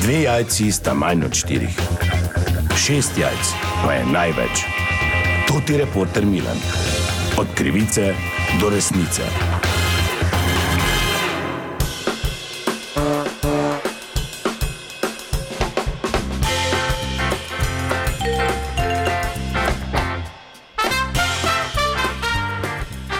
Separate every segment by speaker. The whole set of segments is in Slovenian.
Speaker 1: Dve jajci sta manj od štirih. Šest jajc pa je največ. To ti reporter Milan. Od krivice do resnice.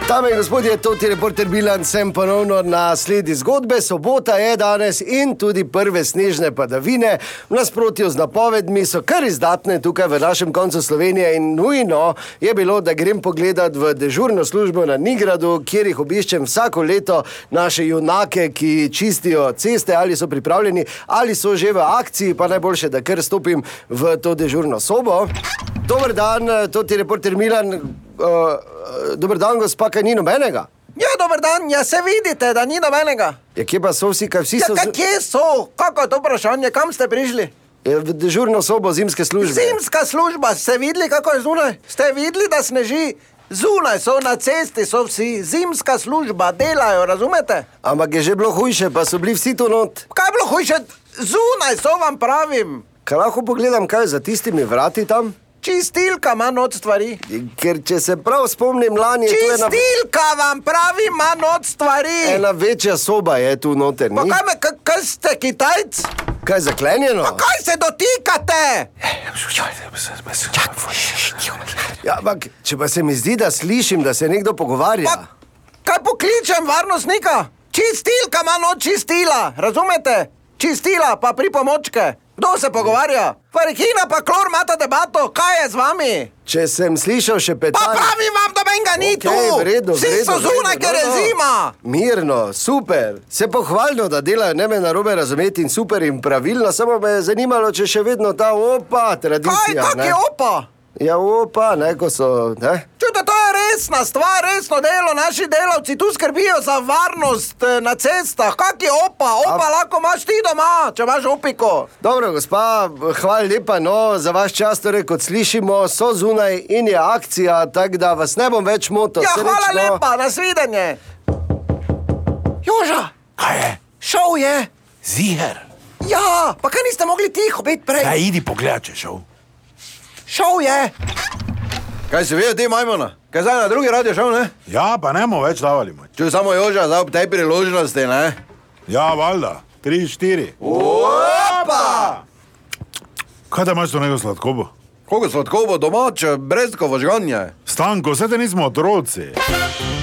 Speaker 2: Dame in gospodje, to je reporter Bilan, sem ponovno na sledi zgodbe. Sobota je danes in tudi prve snežne padavine, v nasprotju z napovedmi, so kar izdatne tukaj v našem koncu Slovenije. In nujno je bilo, da grem pogledat v dežurno službo na Nigradu, kjer jih obiščem vsako leto, naše junake, ki čistijo ceste, ali so pripravljeni, ali so že v akciji, pa najboljše, da kar stopim v to dežurno sobo. Dober dan, to je reporter Milan. Uh, dober dan, gospa, kaj ni nobenega.
Speaker 3: Ja, dober dan, ja se vidite, da ni nobenega.
Speaker 2: Ja, kje pa so vsi, kaj vsi
Speaker 3: Ja,
Speaker 2: so?
Speaker 3: kaj, kje so? Kako je to vprašanje, kam ste prišli?
Speaker 2: Ja, v dežurno sobo zimske službe.
Speaker 3: Zimska služba, ste videli, kako je zunaj? Ste videli, da sneži? Zunaj so, na cesti so vsi, zimska služba, delajo, razumete?
Speaker 2: Ampak je že bilo hujše, pa so bili vsi tu not.
Speaker 3: Kaj je bilo hujše? Zunaj so vam pravim.
Speaker 2: Kaj lahko pogledam, kaj je za tistimi vrati tam?
Speaker 3: Čistilka ima not stvari.
Speaker 2: Ker če se prav spomnim, lani je E, tu ena,
Speaker 3: Čistilka vam pravi, ima not stvari.
Speaker 2: ena večja soba je tu noter.
Speaker 3: Pa
Speaker 2: ni?
Speaker 3: kaj, me, kaj, kaj ste, Kitajci?
Speaker 2: Kaj je zaklenjeno?
Speaker 3: Kaj se dotikate?
Speaker 2: Ja, ampak če pa se mi zdi, da slišim, da se nekdo pogovarja.
Speaker 3: Pa, kaj pokličem varnostnika? Čistilka ima noč čistila, razumete? Čistila, pa pripomočke. Kdo se pogovarja? Farikina pa klor imata debato, kaj je z vami?
Speaker 2: Če sem slišal še
Speaker 3: Pa
Speaker 2: petard.
Speaker 3: pravim vam, da menga ni
Speaker 2: Okej,
Speaker 3: tu!
Speaker 2: v redu, v
Speaker 3: Vsi
Speaker 2: redu,
Speaker 3: so
Speaker 2: v redu,
Speaker 3: zunaj, ker je
Speaker 2: no, no.
Speaker 3: zima!
Speaker 2: Mirno, super, se pohvalno, da delajo, ne me na robe razumeti in super in pravilno, samo me je zanimalo, če še vedno ta opa
Speaker 3: Kaj,
Speaker 2: tradicija.
Speaker 3: kak
Speaker 2: ne.
Speaker 3: je opa?
Speaker 2: Ja, opa, ne, ko so. Ne?
Speaker 3: Čute, to je resna stvar, resno delo, naši delavci tu skrbijo za varnost eh, na cestah. Kak je opa? Opa lahko imaš ti doma, če imaš opiko.
Speaker 2: Dobro, gospa, hvala lepa no, za vaš čas. Torej, kot slišimo, so zunaj in je akcija, tako da vas ne bom več motil.
Speaker 3: Ja, hvala
Speaker 2: Srečno.
Speaker 3: lepa, nasvidenje. Joža,
Speaker 1: Kaj je?
Speaker 3: šel je.
Speaker 1: Ziger.
Speaker 3: Ja, pa kaj niste mogli tiho biti prej?
Speaker 1: Kaj idi pogled, če šel?
Speaker 3: Šel je.
Speaker 4: Kaj si vedel, ti majmona? Kaj zdaj na drugi radio šel, ne?
Speaker 5: Ja, pa ne bomo več davali. Moj.
Speaker 4: Čuj samo Joža, zdaj ob tej priložnosti, ne?
Speaker 5: Ja, valjda, tri, štiri.
Speaker 4: Pa!
Speaker 5: Kaj da imaš to neko sladkobo?
Speaker 4: Koliko sladkov bo domače, brezko vožganje.
Speaker 5: Stanko, vse te nismo otroci.